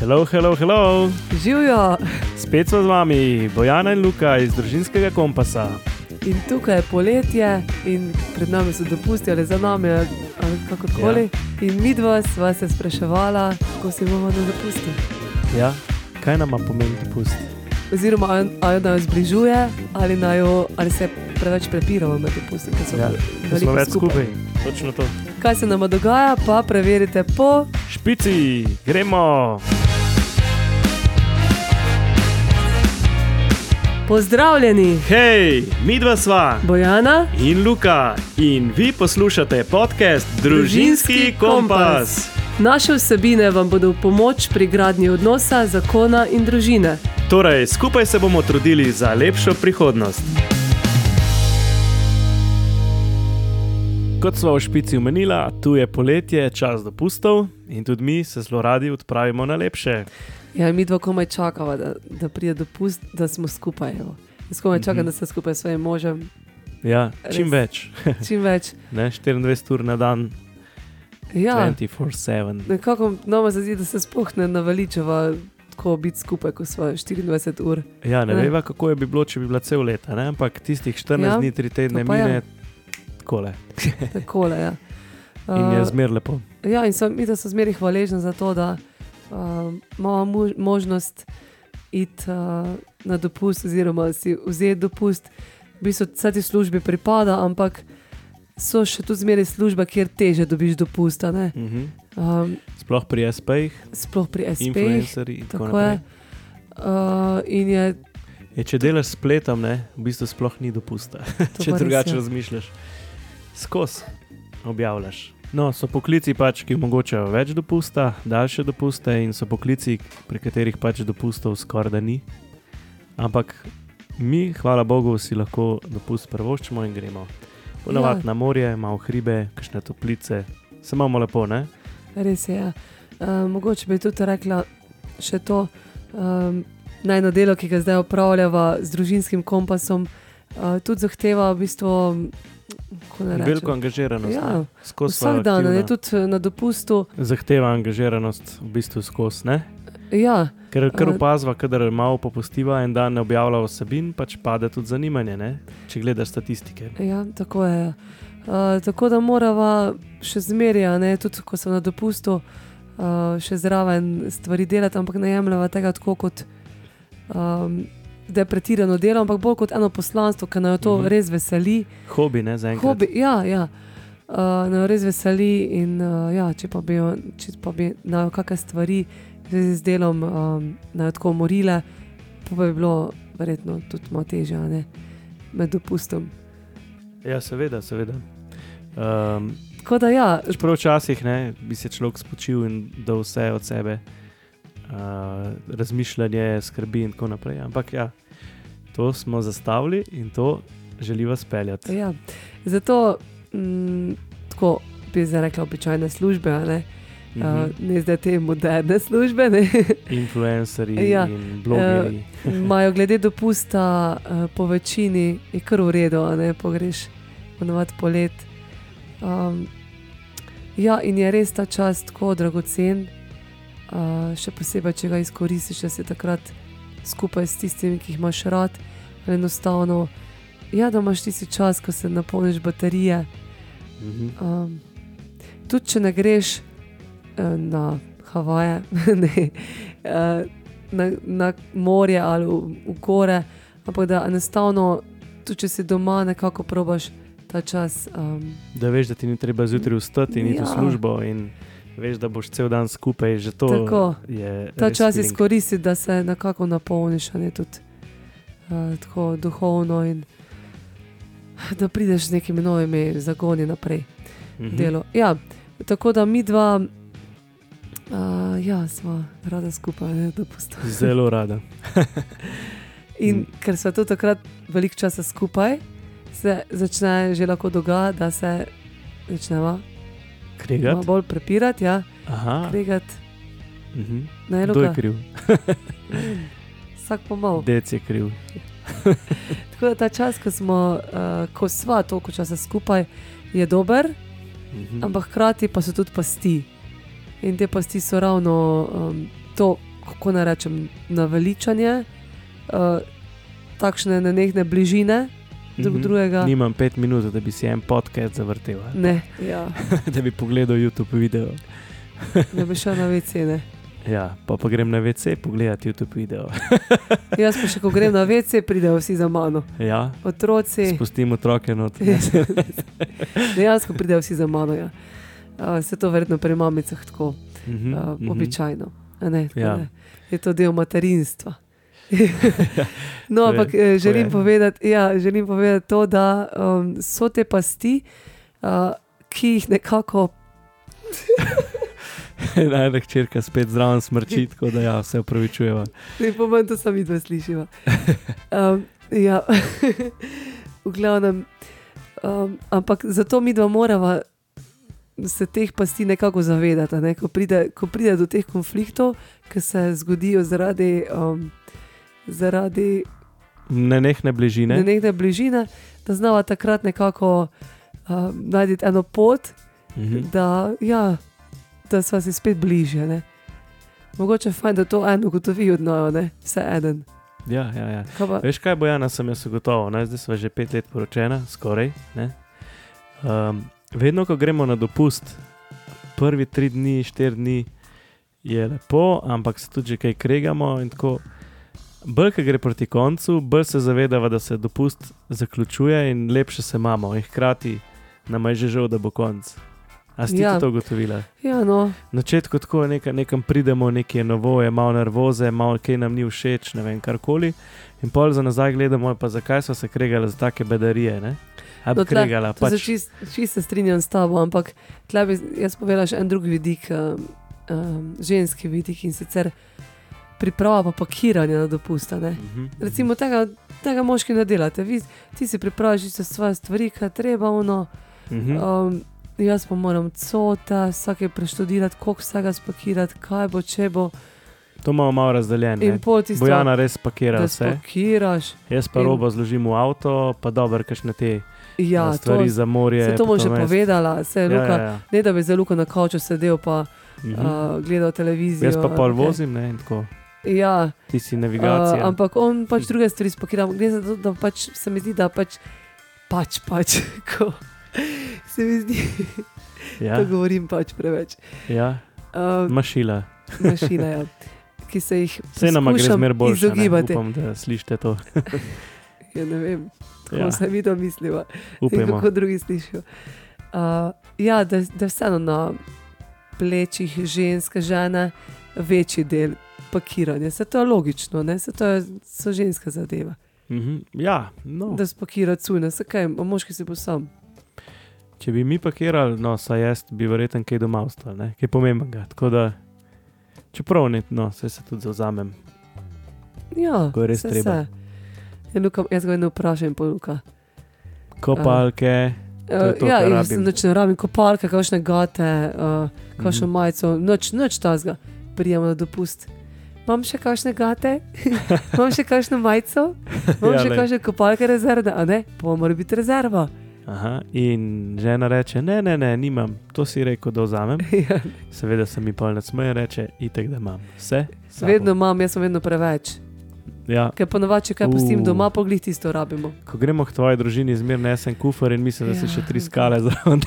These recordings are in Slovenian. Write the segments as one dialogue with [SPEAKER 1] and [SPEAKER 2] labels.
[SPEAKER 1] Hello, hello, hello.
[SPEAKER 2] Živijo
[SPEAKER 1] Spet smo z vami, Bojana in Luka iz družinskega kompasa.
[SPEAKER 2] in tukaj je poletje, in pred nami so dopusti ali za nami, ali ali kakorkoli. Ja. In mi dva sva se spraševala, kako si bomo na dopustu.
[SPEAKER 1] Ja, kaj nam pomeni dopust?
[SPEAKER 2] Oziroma, ali- ali naj jo zbližuje, ali, najo, ali se preveč prepiramo med dopusti, ki so
[SPEAKER 1] Ja, Da smo
[SPEAKER 2] veliko
[SPEAKER 1] več skupaj. Točno to.
[SPEAKER 2] Kaj se nam dogaja, pa preverite po.
[SPEAKER 1] Špici, gremo!
[SPEAKER 2] Pozdravljeni,
[SPEAKER 1] Hej, mi dva sva
[SPEAKER 2] Bojana.
[SPEAKER 1] in Luka in vi poslušate podcast Družinski
[SPEAKER 2] Družinski kompas.
[SPEAKER 1] kompas.
[SPEAKER 2] Naše vsebine vam bodo v pomoč pri gradnji odnosa, zakona in družine.
[SPEAKER 1] Torej, skupaj se bomo trudili za lepšo prihodnost. Kot smo v špici omenila, tu je poletje, čas dopustov in tudi mi se zelo radi odpravimo na lepše.
[SPEAKER 2] Ja, mi dva komaj čakava, da, da pride dopust, da smo skupaj. Evo. Jaz komaj čakam,
[SPEAKER 1] Mhm.
[SPEAKER 2] mm -hmm. da sem skupaj s svojim možem,
[SPEAKER 1] Ja, čim
[SPEAKER 2] Res.
[SPEAKER 1] več,
[SPEAKER 2] čim več.
[SPEAKER 1] ne? 24 ur na dan,
[SPEAKER 2] Ja,
[SPEAKER 1] 24-7.
[SPEAKER 2] nekako nama se zdi, da se sploh ne naveličava tako biti skupaj, ko smo 24 ur.
[SPEAKER 1] Ja, ne
[SPEAKER 2] Ne.
[SPEAKER 1] veva, kako je bi bilo, če bi bila cel leta, ne? ampak tistih 14 ja,
[SPEAKER 2] Ja,
[SPEAKER 1] dni, 3 tedne
[SPEAKER 2] to pa ja.
[SPEAKER 1] mine, takole.
[SPEAKER 2] Takole, ja.
[SPEAKER 1] In je
[SPEAKER 2] Uh,
[SPEAKER 1] zmer lepo.
[SPEAKER 2] Ja, in sem, mi da sem zmeraj hvaležna za to, da um, imamo mu, možnost iti uh, na dopust, oziroma si vzeti dopust. V bistvu vse ti službe pripada, ampak so še tu zmeraj službe, kjer teže dobiš dopusta. ne.
[SPEAKER 1] Mhm.
[SPEAKER 2] Um,
[SPEAKER 1] Sploh pri SP-jih,
[SPEAKER 2] sploh pri SP-jih.
[SPEAKER 1] influencerjih in tako
[SPEAKER 2] Tako je.
[SPEAKER 1] naprej.
[SPEAKER 2] Uh, in je
[SPEAKER 1] Je, če delaš s spletom, ne, v bistvu sploh ni dopusta.
[SPEAKER 2] to
[SPEAKER 1] če
[SPEAKER 2] pa res,
[SPEAKER 1] drugače
[SPEAKER 2] ja.
[SPEAKER 1] razmišljaš, skozi objavljaš. No, so poklici, pač, ki omogočajo več dopusta, daljše dopuste, in so poklici, pri katerih pač dopustov skoraj da ni. Ampak mi, hvala Bogu, si lahko dopust prvoščimo in gremo. Ponavadi ja.
[SPEAKER 2] Ja.
[SPEAKER 1] na morje, malo hribe, kakšne toplice, se imamo lepo, ne?
[SPEAKER 2] Res je. Ja. Uh, mogoče bi tudi rekla še to um, najno delo, ki ga zdaj opravljava z družinskim kompasom, uh, tudi zahteva v bistvu kako naj rečem?
[SPEAKER 1] Veliko angažiranost.
[SPEAKER 2] Ja,
[SPEAKER 1] ne. Skozi sva
[SPEAKER 2] Vsak dan, ne
[SPEAKER 1] aktivna.
[SPEAKER 2] tudi eh, na dopustu.
[SPEAKER 1] Zahteva angažiranost v bistvu skozi, ne?
[SPEAKER 2] Ja,
[SPEAKER 1] Ker, ker
[SPEAKER 2] Eh,
[SPEAKER 1] opazva, kadar malo popustiva in dan ne objavlja vsebin, pač pade tudi zanimanje, ne? če gledaš statistike.
[SPEAKER 2] ja, tako je. Uh, tako da moramo še zmeraj, tudi ko sem na dopustu, uh, še zraven stvari delati, ampak ne jemljeva tega tako kot um, da je pretirano delo, ampak bolj kot eno poslanstvo, ki nas to
[SPEAKER 1] Mhm.
[SPEAKER 2] mhm. res veseli.
[SPEAKER 1] Hobi, ne za enkrat.
[SPEAKER 2] Hobi, ja, ja. Uh, naj jo res veseli. In, uh, ja, če pa bi, jo- če pa bi na kakšne stvari v zvezi z delom um, naj jo tako morile, pa bi bilo verjetno tudi malo težje a ne, med dopustom.
[SPEAKER 1] Ja, seveda, seveda. Um,
[SPEAKER 2] Tako da ja,
[SPEAKER 1] čeprav včasih ne, bi se človek spočil in dal vse od sebe, uh, razmišljanje, skrbi in tako naprej. Ampak ja, to smo zastavili in to želiva speljati.
[SPEAKER 2] ja. zato mm, tako bi zdaj rekla običajne službe, a ne, mm
[SPEAKER 1] Mhm.
[SPEAKER 2] -hmm. uh, ne zdaj te moderne službe. ne.
[SPEAKER 1] Influencerji ja.
[SPEAKER 2] ja, eh,
[SPEAKER 1] in blogerji.
[SPEAKER 2] Imajo glede dopusta eh, po večini, je kar v redu, a ne pogreš, ponovadi polet. Um, ja, in je res ta čas tako dragocen, uh, še posebej, če ga izkoristiš, da se takrat skupaj s tistimi, ki jih imaš rad, ali enostavno. Ja, da imaš tisti čas, ko se napolniš baterije.
[SPEAKER 1] Mhm.
[SPEAKER 2] Um, tudi če ne greš eh, na Havaje, ne, eh, na, na morje ali v, v gore, ampak da enostavno, tudi če si doma, nekako probaš ta čas. Um,
[SPEAKER 1] Da veš, da ti ni treba zjutraj vstati in iti v
[SPEAKER 2] Ja.
[SPEAKER 1] službo, in veš, da boš cel dan skupaj, že to
[SPEAKER 2] Tako.
[SPEAKER 1] je.
[SPEAKER 2] ta
[SPEAKER 1] res
[SPEAKER 2] čas
[SPEAKER 1] feeling.
[SPEAKER 2] izkoristiti, da se nekako napolniš, a ne tudi eh, tako duhovno in da prideš z nekimi novimi zagoni naprej.
[SPEAKER 1] Mhm.
[SPEAKER 2] delo. Ja, tako da mi dva, uh, ja, smo rada skupaj, ne, da postavimo.
[SPEAKER 1] Zelo rada.
[SPEAKER 2] In
[SPEAKER 1] Mm.
[SPEAKER 2] ker smo to takrat veliko časa skupaj, se začne že lahko dogajati, da se začneva malo
[SPEAKER 1] Kregat.
[SPEAKER 2] bolj prepirati, ja,
[SPEAKER 1] Aha.
[SPEAKER 2] pregati
[SPEAKER 1] Mhm.
[SPEAKER 2] na eno
[SPEAKER 1] Kdo je kriv?
[SPEAKER 2] Vsak pomal.
[SPEAKER 1] Dec je kriv.
[SPEAKER 2] Tako da ta čas, ko smo, uh, ko sva toliko časa skupaj, je dober,
[SPEAKER 1] Mhm.
[SPEAKER 2] ampak hkrati pa so tudi pasti. In te pasti so ravno um, to, kako naj rečem, naveličanje, uh, takšne nenehne bližine drug
[SPEAKER 1] Mhm.
[SPEAKER 2] drugega.
[SPEAKER 1] Nimam pet minut, da bi si en podcast zavrtel, a?
[SPEAKER 2] Ne, ja,
[SPEAKER 1] da bi pogledal YouTube video.
[SPEAKER 2] ne bi šel na vecene.
[SPEAKER 1] Ja, pa, pa grem na WC pogledat YouTube video.
[SPEAKER 2] Jaz pa še, ko grem na vece, pridejo vsi za mano.
[SPEAKER 1] Ja,
[SPEAKER 2] Otroci,
[SPEAKER 1] spustim otroke not.
[SPEAKER 2] dejansko pridejo vsi za mano. Ja. Uh, se to verjetno pri mamicah tako, uh,
[SPEAKER 1] Mhm, mhm.
[SPEAKER 2] običajno. a Ne, tako
[SPEAKER 1] Ja.
[SPEAKER 2] ne. Je to del materinstva. no,
[SPEAKER 1] to je,
[SPEAKER 2] ampak eh, želim
[SPEAKER 1] je.
[SPEAKER 2] povedati, ja, želim povedati to, da um, so te pasti, uh, ki jih nekako
[SPEAKER 1] Najna hčerka spet zraven smrči, tako da ja, se upravičujeva.
[SPEAKER 2] Ne pomeni, da sami dva slišiva. Um, ja, v glavnem. Um, ampak zato mi dva morava se teh pasti nekako zavedati. a Ne? Ko, pride, ko pride do teh konfliktov, ki se zgodijo zaradi, um, zaradi
[SPEAKER 1] Ne nehne bližine.
[SPEAKER 2] ne? nekde bližine, da znava takrat nekako um, najti eno pot,
[SPEAKER 1] Mhm.
[SPEAKER 2] da, ja, da sva si spet bližje. Ne? Mogoče je fajn, da to eno ugotovi od naju, ne? vse en.
[SPEAKER 1] Ja, ja, ja. Veš kaj, Bojana, sem jaz gotovo, ne? zdaj smo že pet let poročena, skoraj. ne. Um, vedno, ko gremo na dopust, prvi tri dni, štiri dni je lepo, ampak se tudi že kaj kregamo. in tako. Bolj, ki gre proti koncu, bolj se zavedava, da se dopust zaključuje in lepše se imamo. In hkrati nam je že žal, da bo konc. A ste
[SPEAKER 2] Ja.
[SPEAKER 1] ja. to ugotovila?
[SPEAKER 2] Ja, no,
[SPEAKER 1] Na začetku tako neka, nekam pridemo, nekaj je novo, je malo nervoze, malo kaj nam ni všeč, ne vem karkoli. In pol za nazaj gledamo, "Ja, pa zakaj so se kregali za take bedarije. Ne? A bi
[SPEAKER 2] No,
[SPEAKER 1] no,
[SPEAKER 2] tule-
[SPEAKER 1] kregala,
[SPEAKER 2] to se
[SPEAKER 1] pač.
[SPEAKER 2] čist, čist se strinjam s tabo, ampak tle bi jaz povedala še en drug vidik, um, um, ženski vidik in sicer priprava pa pakiranja na dopusta. Ne?
[SPEAKER 1] Mhm, mhm.
[SPEAKER 2] Recimo tega, tega moški ne delate, Vi, ti si pripraviš vse svoje stvari, kaj je treba, ono,
[SPEAKER 1] Mhm.
[SPEAKER 2] um, jaz pa moram cote, vsake preštudirati, koliko vsega spakirati, kaj bo, če bo.
[SPEAKER 1] To imamo malo razdeljeno.
[SPEAKER 2] In
[SPEAKER 1] ne.
[SPEAKER 2] pol tisto,
[SPEAKER 1] Bojana res pakira
[SPEAKER 2] da
[SPEAKER 1] vse,
[SPEAKER 2] spakiraš.
[SPEAKER 1] jaz pa
[SPEAKER 2] in-
[SPEAKER 1] robo zložim v avto, pa dobro, kašne te
[SPEAKER 2] Ja,
[SPEAKER 1] ja, stvari
[SPEAKER 2] to,
[SPEAKER 1] za morje.
[SPEAKER 2] se to bom že
[SPEAKER 1] potem jaz-
[SPEAKER 2] povedala, se je
[SPEAKER 1] Ja,
[SPEAKER 2] ja, Luka.
[SPEAKER 1] ja,
[SPEAKER 2] Ja.
[SPEAKER 1] ja.
[SPEAKER 2] Ne, da bi za Luko na kavču sedel pa
[SPEAKER 1] Mhm.
[SPEAKER 2] uh, gledal televizijo.
[SPEAKER 1] Jaz pa pol
[SPEAKER 2] ok.
[SPEAKER 1] vozim, ne, in tako.
[SPEAKER 2] Ja,
[SPEAKER 1] ti si
[SPEAKER 2] uh,
[SPEAKER 1] navigacija.
[SPEAKER 2] ampak on
[SPEAKER 1] Mhm.
[SPEAKER 2] pač druge stvari spakira. Gre za to, da pač se mi zdi, da pač pač. pač ko, se mi zdi, da
[SPEAKER 1] ja,
[SPEAKER 2] ja. govorim pač preveč.
[SPEAKER 1] ja.
[SPEAKER 2] Uh,
[SPEAKER 1] Mašila.
[SPEAKER 2] mašina, ja, ki se jih
[SPEAKER 1] Vse nam gre
[SPEAKER 2] poskušam
[SPEAKER 1] zmer bolj.
[SPEAKER 2] izogibati.
[SPEAKER 1] Upam, da slišite to.
[SPEAKER 2] Ja, ne vem, kako ja.
[SPEAKER 1] Ja,
[SPEAKER 2] se mi to misliva in
[SPEAKER 1] upajmo.
[SPEAKER 2] kako drugi slišijo. Uh, ja, da, da je vseeno na plečih ženske žene večji del pakiranja. Se to je logično, ne? se to je, so ženska zadeva.
[SPEAKER 1] Mhm, ja, no.
[SPEAKER 2] da spakira cune, zakaj, a moški si bo sam.
[SPEAKER 1] Če bi mi pakirali, no, saj jaz bi verjetno kaj doma ostal, ne? kaj pomembnega. Tako da, čeprav ne, no, saj se tudi zauzamem.
[SPEAKER 2] Ja,
[SPEAKER 1] Ko je res
[SPEAKER 2] se,
[SPEAKER 1] treba.
[SPEAKER 2] Se. Ja, Luka, jaz ga vedno vprašam, pa Luka.
[SPEAKER 1] Kopalke, to je to,
[SPEAKER 2] ja,
[SPEAKER 1] kar
[SPEAKER 2] jaz
[SPEAKER 1] rabim.
[SPEAKER 2] noč ne rabim kopalke, kakšne gate, uh, kakšno mm.
[SPEAKER 1] Mhm.
[SPEAKER 2] majico, noč, noč tazga, prijemo na dopust. Imam še kakšne gate, imam še kakšno majico,
[SPEAKER 1] Ja,
[SPEAKER 2] imam ja, še
[SPEAKER 1] lej.
[SPEAKER 2] kakšne kopalke rezervne, a ne, pa mora biti rezerva.
[SPEAKER 1] mhm. Aha, in žena reče: ne, ne, ne, nimam, to si rekel, da vzamem.
[SPEAKER 2] ja,
[SPEAKER 1] Seveda se mi polnec meje reče: itek, da imam vse. s sabo."
[SPEAKER 2] vedno imam, jaz sem vedno preveč.
[SPEAKER 1] Ja,
[SPEAKER 2] Ker ponovadi, če kaj pustim
[SPEAKER 1] Uh.
[SPEAKER 2] doma, poglih tisto rabimo.
[SPEAKER 1] ko gremo k tvoji družini, zmerno nesem kufar in mislim, da si
[SPEAKER 2] Ja,
[SPEAKER 1] še tri
[SPEAKER 2] da.
[SPEAKER 1] skale zraven.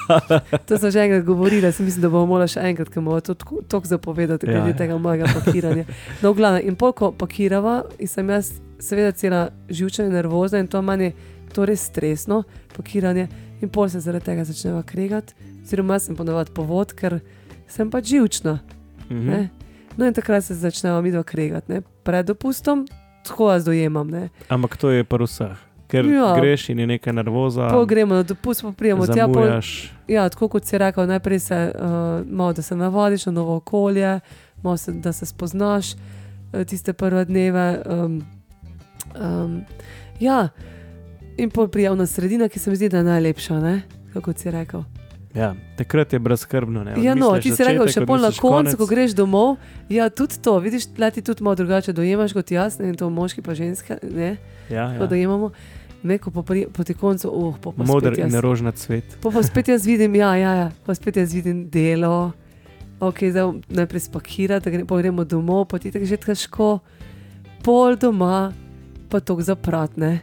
[SPEAKER 2] To sem že enkrat govorila, sem mislim, da bomo morali še enkrat, ker bomo to tako- toliko zapovedati,
[SPEAKER 1] Ja,
[SPEAKER 2] glede
[SPEAKER 1] ja.
[SPEAKER 2] ja, tega mojega pakiranja. No, glavno, in polko pakirava, in sem jaz, seveda, cela živčna in nervozna in to meni to res stresno, pakiranje, in pol se zaradi tega začneva kregati, oziroma jaz sem ponovadi povod, ker sem pač živčna.
[SPEAKER 1] Mhm.
[SPEAKER 2] Ne? No, in takrat se začneva midva kregati, ne? pred dopustom, tako jaz dojemam. Ne?
[SPEAKER 1] Ampak to je pri vseh, ker
[SPEAKER 2] Ja.
[SPEAKER 1] greš in je neka nervoza.
[SPEAKER 2] Pol gremo na dopust, pa prijemo tja, pol
[SPEAKER 1] zamujaš.
[SPEAKER 2] Ja, tako kot si rekel, najprej se uh, malo da se navadiš na novo okolje, malo se, da se spoznaš eh, tiste prve dneve. Um, um, ja, in pol prijavna sredina, ki se mi zdi, da je najlepša, ne? kako si rekel.
[SPEAKER 1] Ja, takrat je brezkrbno. Ne?
[SPEAKER 2] Ja, no,
[SPEAKER 1] Odmisliš
[SPEAKER 2] ti si
[SPEAKER 1] začetek,
[SPEAKER 2] rekel, še bolj na
[SPEAKER 1] odmisliš
[SPEAKER 2] koncu,
[SPEAKER 1] konec.
[SPEAKER 2] ko greš domov. Ja, tudi to, vidiš, da ti tudi malo drugače dojemaš kot jaz, ne in to moški pa ženske, ne,
[SPEAKER 1] Ja,
[SPEAKER 2] ja.
[SPEAKER 1] ja.
[SPEAKER 2] to dojemamo. Neko pa pri- proti koncu, uh, pa pa
[SPEAKER 1] Moder
[SPEAKER 2] spet
[SPEAKER 1] in
[SPEAKER 2] jaz
[SPEAKER 1] rožnat svet.
[SPEAKER 2] Pa, pa spet jaz vidim, ja, ja, ja. pa spet jaz vidim delo, ok, zdaj najprej spakirati, da gre, pol gremo domov, potem tako že težko, pol doma, pa tok zapratne.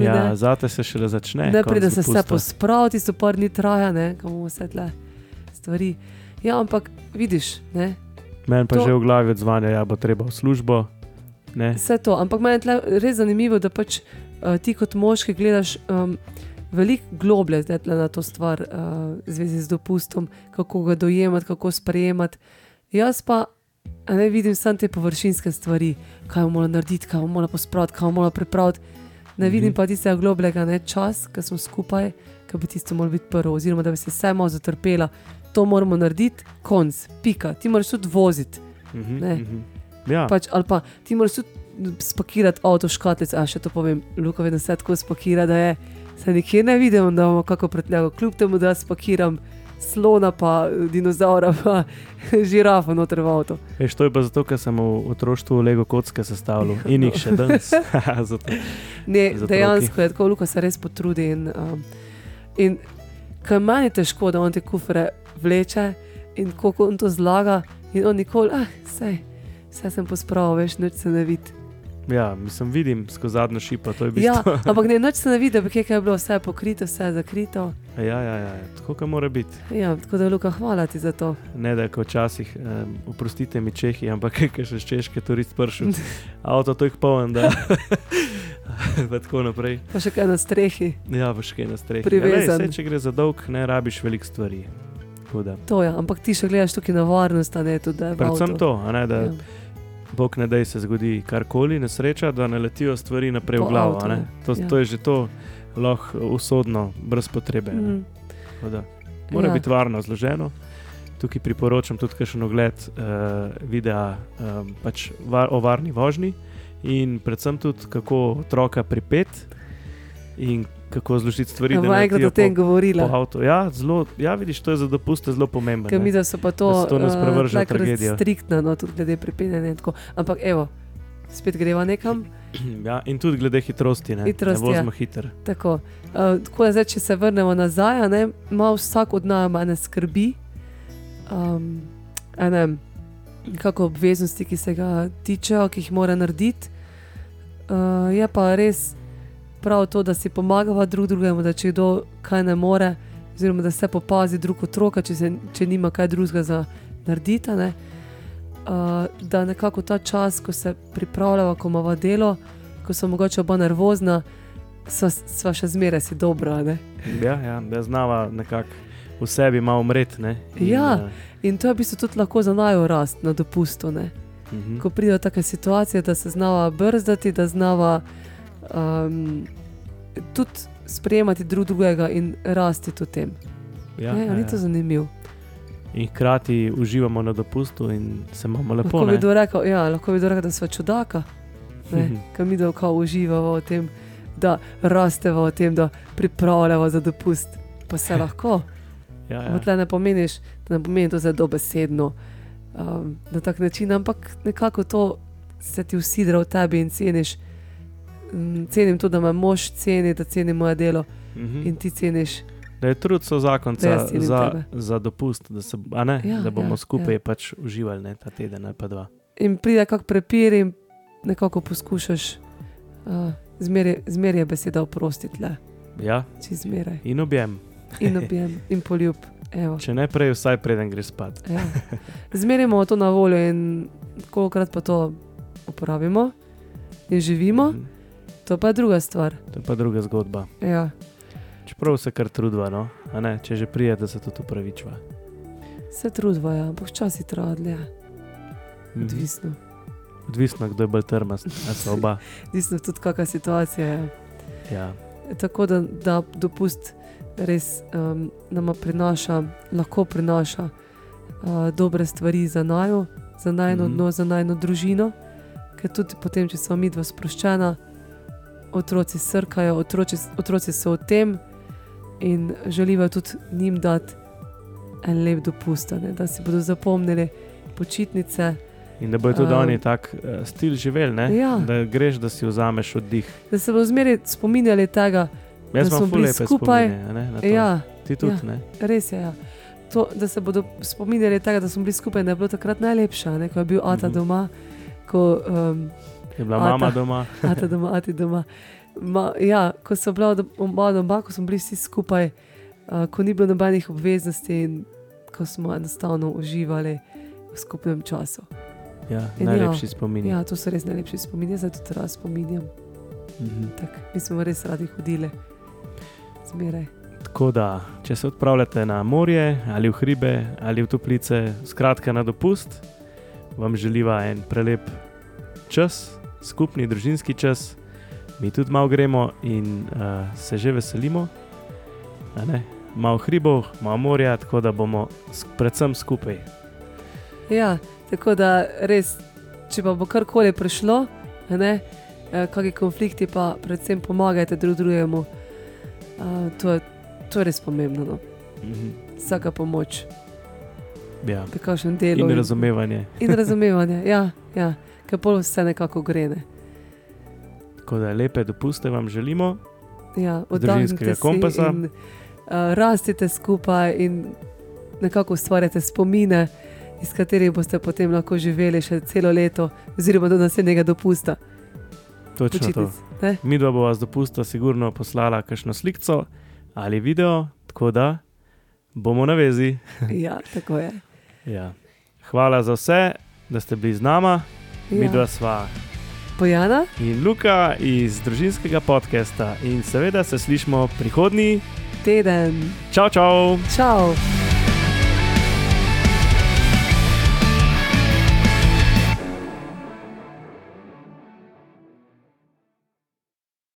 [SPEAKER 1] Ja, zate se šele začne.
[SPEAKER 2] Najprej, da se vse
[SPEAKER 1] poskuša.
[SPEAKER 2] pospravi, tisto par dni traja, ne, kam vse tle stvari. Ja, ampak vidiš, ne,
[SPEAKER 1] Meni pa
[SPEAKER 2] to-
[SPEAKER 1] že v glavi odzvanja, da ja, bo treba v službo. Ne?
[SPEAKER 2] vse to. Ampak meni je tule res zanimivo, da pač uh, ti kot moški gledaš um, veliko globlje zdaj tule na to stvar, uh, v zvezi z dopustom, kako ga dojemati, kako sprejemati. Jaz pa a ne vidim samo te površinske stvari, kaj moramo narediti, kaj moramo pospraviti, kaj moramo pripraviti. Ne vidim
[SPEAKER 1] Mhm.
[SPEAKER 2] pa tistega globlega, ne čas, ki smo skupaj, ki bi tisto moralo biti prvo, oziroma da bi se vsaj malo zatrpela. To moramo narediti, konc, pika. Ti moraš tudi voziti.
[SPEAKER 1] Mhm,
[SPEAKER 2] ne.
[SPEAKER 1] mhm. Ja,
[SPEAKER 2] Pač, ali pa ti moraš tudi spakirati avto, škatlic, a še to povem, Luka vedno se tako spakira, da je se nikje ne vidim, da imamo kako pretljago. Kljub temu, da spakiram slona, pa eh, dinozaura, pa žirafa noter v avto.
[SPEAKER 1] veš, to je pa zato, ker sem v otroštvu Lego kocke
[SPEAKER 2] Ja.
[SPEAKER 1] sestavljal in jih še danes. Zato.
[SPEAKER 2] Ne,
[SPEAKER 1] Z otroki.
[SPEAKER 2] dejansko je tako, Luka se res potrudi. In, um, in kar meni je težko, da on te kufre vleče in kako on to zlaga, in on nikoli, ah, sej, vse sem pospravil, veš, noč se ne vidi.
[SPEAKER 1] Ja, mislim, vidim skozi zadnjo šipo, to je bistvo.
[SPEAKER 2] Ja, ampak ne, noč se ne vidi, da bi kaj, kaj je bilo, vse je pokrito, vse je zakrito.
[SPEAKER 1] Ja, ja, ja, tako kot mora biti.
[SPEAKER 2] Ja, tako da, Luka, hvala ti za to.
[SPEAKER 1] Ne, da je kot včasih, um, oprostite mi Čehi, ampak ker še iz Češke turist pršil, avto to jih poln, da. Pa tako naprej.
[SPEAKER 2] Pa še kaj na strehi.
[SPEAKER 1] Ja, boš kaj na strehi.
[SPEAKER 2] Privezan.
[SPEAKER 1] Ja, če gre za dolg, ne rabiš veliko stvari. Tako da.
[SPEAKER 2] To je, ampak ti še gledaš tukaj na varnost, a ne tudi da je
[SPEAKER 1] Predvsem to, a ne, da
[SPEAKER 2] Ja,
[SPEAKER 1] ja. bog ne dej se zgodi karkoli, nesreča, da ne letijo stvari naprej
[SPEAKER 2] Po
[SPEAKER 1] v glavo.
[SPEAKER 2] avtu,
[SPEAKER 1] a ne. To,
[SPEAKER 2] ja.
[SPEAKER 1] to je že to lahko usodno, brez potrebe. a ne.
[SPEAKER 2] Mm,
[SPEAKER 1] Tako Da, mora
[SPEAKER 2] Ja.
[SPEAKER 1] ja. biti varno zloženo. Tukaj priporočam tudi kakšen ogled uh, videa um, pač var, o varni vožnji in predvsem tudi kako otroka pripet in kako zložiti stvari. da ne
[SPEAKER 2] Ampak enkrat
[SPEAKER 1] letijo
[SPEAKER 2] o tem
[SPEAKER 1] po, po
[SPEAKER 2] govorila.
[SPEAKER 1] avtu. Ja, zelo, ja, vidiš, to je za dopuste zelo pomembno.
[SPEAKER 2] Ker mi
[SPEAKER 1] ne.
[SPEAKER 2] da so pa
[SPEAKER 1] Da
[SPEAKER 2] to,
[SPEAKER 1] se to ne
[SPEAKER 2] eh,
[SPEAKER 1] sprevržejo v
[SPEAKER 2] takrat
[SPEAKER 1] tragedijo.
[SPEAKER 2] striktna, no, tudi glede prepinjanja in tako. Ampak evo, spet greva nekam.
[SPEAKER 1] Ja, in tudi glede hitrosti, ne,
[SPEAKER 2] Hitrost,
[SPEAKER 1] ne vozimo ja. hiter.
[SPEAKER 2] Tako, uh, tako da zdaj, če se vrnemo nazaj, a ne, ima vsak od nas ene skrbi, um, ene kako obveznosti, ki se ga tičejo, ki jih mora narediti. Uh, je pa res prav to, da si pomagava drug drugemu, da če kdo kaj ne more, oziroma da se popazi drug otroka, če, se, če nima kaj drugega za narediti. a Ne? Uh, da nekako ta čas, ko se pripravljava, ko imamo delo, ko so mogoče oba nervozna, sva, sva še zmeraj si dobra. a Ne?
[SPEAKER 1] Ja, ja, da znava nekako v sebi malo umreti. ne, in,
[SPEAKER 2] Ja.
[SPEAKER 1] eh,
[SPEAKER 2] In to je v bistvu tudi lahko za najo rast na dopustu. Ne?
[SPEAKER 1] mhm.
[SPEAKER 2] Ko pridejo take situacije, da se znava brzdati, da znava um, tudi sprejemati drug drugega in rasti tudi v tem.
[SPEAKER 1] ja,
[SPEAKER 2] Ja, ne, ja, ni to zanimivo.
[SPEAKER 1] In hkrati uživamo na dopustu in se imamo lepo.
[SPEAKER 2] Lahko bi
[SPEAKER 1] ne.
[SPEAKER 2] kdo rekel, ja, lahko bi kdo rekel, da smo čudaka,
[SPEAKER 1] Mhm.
[SPEAKER 2] ki mi dolgo uživamo v tem, da rastemo v tem, da pripravljamo za dopust. Pa se lahko.
[SPEAKER 1] Ja, ja.
[SPEAKER 2] Ampak tle ne pomeniš, da ne pomeni to zdaj dobesedno um, na tak način, ampak nekako to se ti usidra v tebi in ceniš. Mm, Cenim to, da me mož ceni, da ceni moje delo
[SPEAKER 1] Mhm.
[SPEAKER 2] in ti ceniš.
[SPEAKER 1] Da je trud so
[SPEAKER 2] Da
[SPEAKER 1] zakonca
[SPEAKER 2] jaz cenim
[SPEAKER 1] za,
[SPEAKER 2] tebe.
[SPEAKER 1] za dopust, da, se, a ne,
[SPEAKER 2] Ja,
[SPEAKER 1] ja, da bomo
[SPEAKER 2] ja,
[SPEAKER 1] ja, skupaj ja. pač uživali ne, ta teden ali pa dva.
[SPEAKER 2] In pride kak prepir in nekako poskušaš, uh, zmeraj zmer je beseda oprostiti, le,
[SPEAKER 1] Ja,
[SPEAKER 2] če zmeraj.
[SPEAKER 1] in objem.
[SPEAKER 2] In objem, in poljub. Evo.
[SPEAKER 1] Če ne prej, vsaj preden greš spat.
[SPEAKER 2] Ja. Zmeraj imamo to na voljo in kolikokrat pa to uporabimo in živimo,
[SPEAKER 1] Mhm.
[SPEAKER 2] to pa je druga stvar.
[SPEAKER 1] To je pa druga zgodba.
[SPEAKER 2] Ja.
[SPEAKER 1] Čeprav se kar trudva, no? a ne, če že prije, da se tudi upravičva.
[SPEAKER 2] Se trudva, ja, ampak včasih traja dlje,
[SPEAKER 1] Mhm.
[SPEAKER 2] odvisno.
[SPEAKER 1] Odvisno, kdo je bolj trmast, a so oba.
[SPEAKER 2] Odvisno tudi, kakšna situacija je.
[SPEAKER 1] Ja.
[SPEAKER 2] Tako da, da dopust res um, nam prinaša, lahko prinaša uh, dobre stvari za najo, za najno
[SPEAKER 1] Mhm.
[SPEAKER 2] dno, za najno družino. Ker tudi potem, če smo mi dva sproščena, otroci srkajo, otroci, otroci so v tem in želijo tudi njim dati en lep dopust, a ne, da si bodo zapomnili počitnice,
[SPEAKER 1] In da bojo tudi
[SPEAKER 2] Ehm.
[SPEAKER 1] um, oni tak uh, stil živeli, ne?
[SPEAKER 2] Ja.
[SPEAKER 1] da greš, da si vzameš oddih.
[SPEAKER 2] da se bodo zmeraj spominjali tega.
[SPEAKER 1] Jaz
[SPEAKER 2] smo
[SPEAKER 1] imam ful
[SPEAKER 2] bili
[SPEAKER 1] lepe
[SPEAKER 2] skupaj.
[SPEAKER 1] spomine, a ne, na to.
[SPEAKER 2] Ja,
[SPEAKER 1] Ti tudi,
[SPEAKER 2] ja.
[SPEAKER 1] ne?
[SPEAKER 2] res je. Ja. to, da se bodo spominjali tega, da smo bili skupaj, da je bilo takrat najlepša, ne, ko je bil Ata
[SPEAKER 1] Mhm.
[SPEAKER 2] doma, ko um,
[SPEAKER 1] Je bila
[SPEAKER 2] Ata.
[SPEAKER 1] mama doma,
[SPEAKER 2] Ata doma, ati doma. Ma, ja, ko so bila do- oba doma, ko smo bili vsi skupaj, uh, ko ni bilo nobenih obveznosti in ko smo enostavno uživali v skupnem času.
[SPEAKER 1] ja,
[SPEAKER 2] In
[SPEAKER 1] najlepši spomin.
[SPEAKER 2] Ja, to so res najlepši spomini, zdaj tudi raz spominjam.
[SPEAKER 1] Mhm.
[SPEAKER 2] Tak, mi smo res radi hodili, zmeraj.
[SPEAKER 1] Tako da, če se odpravljate na morje ali v hribe ali v toplice, skratka na dopust, vam želiva en prelep čas, skupni družinski čas. Mi tudi malo gremo in uh, se že veselimo. a ne? Malo hribov, malo morja, tako da bomo sk predvsem skupaj.
[SPEAKER 2] Ja, tako da res, če pa bo karkoli prišlo, a ne, eh, kakšni konflikti, pa predvsem pomagajte drug drugemu. Uh, to, je, to je res pomembno. No.
[SPEAKER 1] Mhm.
[SPEAKER 2] Vsaka pomoč,
[SPEAKER 1] Ja.
[SPEAKER 2] pri kakšnem delu.
[SPEAKER 1] In razumevanje.
[SPEAKER 2] in razumevanje. Ja, ja, ker pol vse nekako gre. Ne.
[SPEAKER 1] Tako da lepe dopuste vam želimo.
[SPEAKER 2] Ja,
[SPEAKER 1] družinskega
[SPEAKER 2] oddahnite si
[SPEAKER 1] kompasa.
[SPEAKER 2] in uh, rastite skupaj in nekako ustvarjate spomine, iz katerih boste potem lahko živeli še celo leto, oziroma do naslednjega dopusta.
[SPEAKER 1] Točno to.
[SPEAKER 2] Počitnic. ne?
[SPEAKER 1] Mi dva bova z dopusta sigurno poslala kakšno sliko ali video, tako da bomo na vezi.
[SPEAKER 2] Ja, tako je.
[SPEAKER 1] Ja. Hvala za vse, da ste bili z nama. Ja. Mi dva
[SPEAKER 2] Ja.
[SPEAKER 1] sva
[SPEAKER 2] Bojana,
[SPEAKER 1] in Luka iz družinskega podcasta in seveda se slišmo prihodnji.
[SPEAKER 2] teden,
[SPEAKER 1] Čau, čau!
[SPEAKER 2] čau.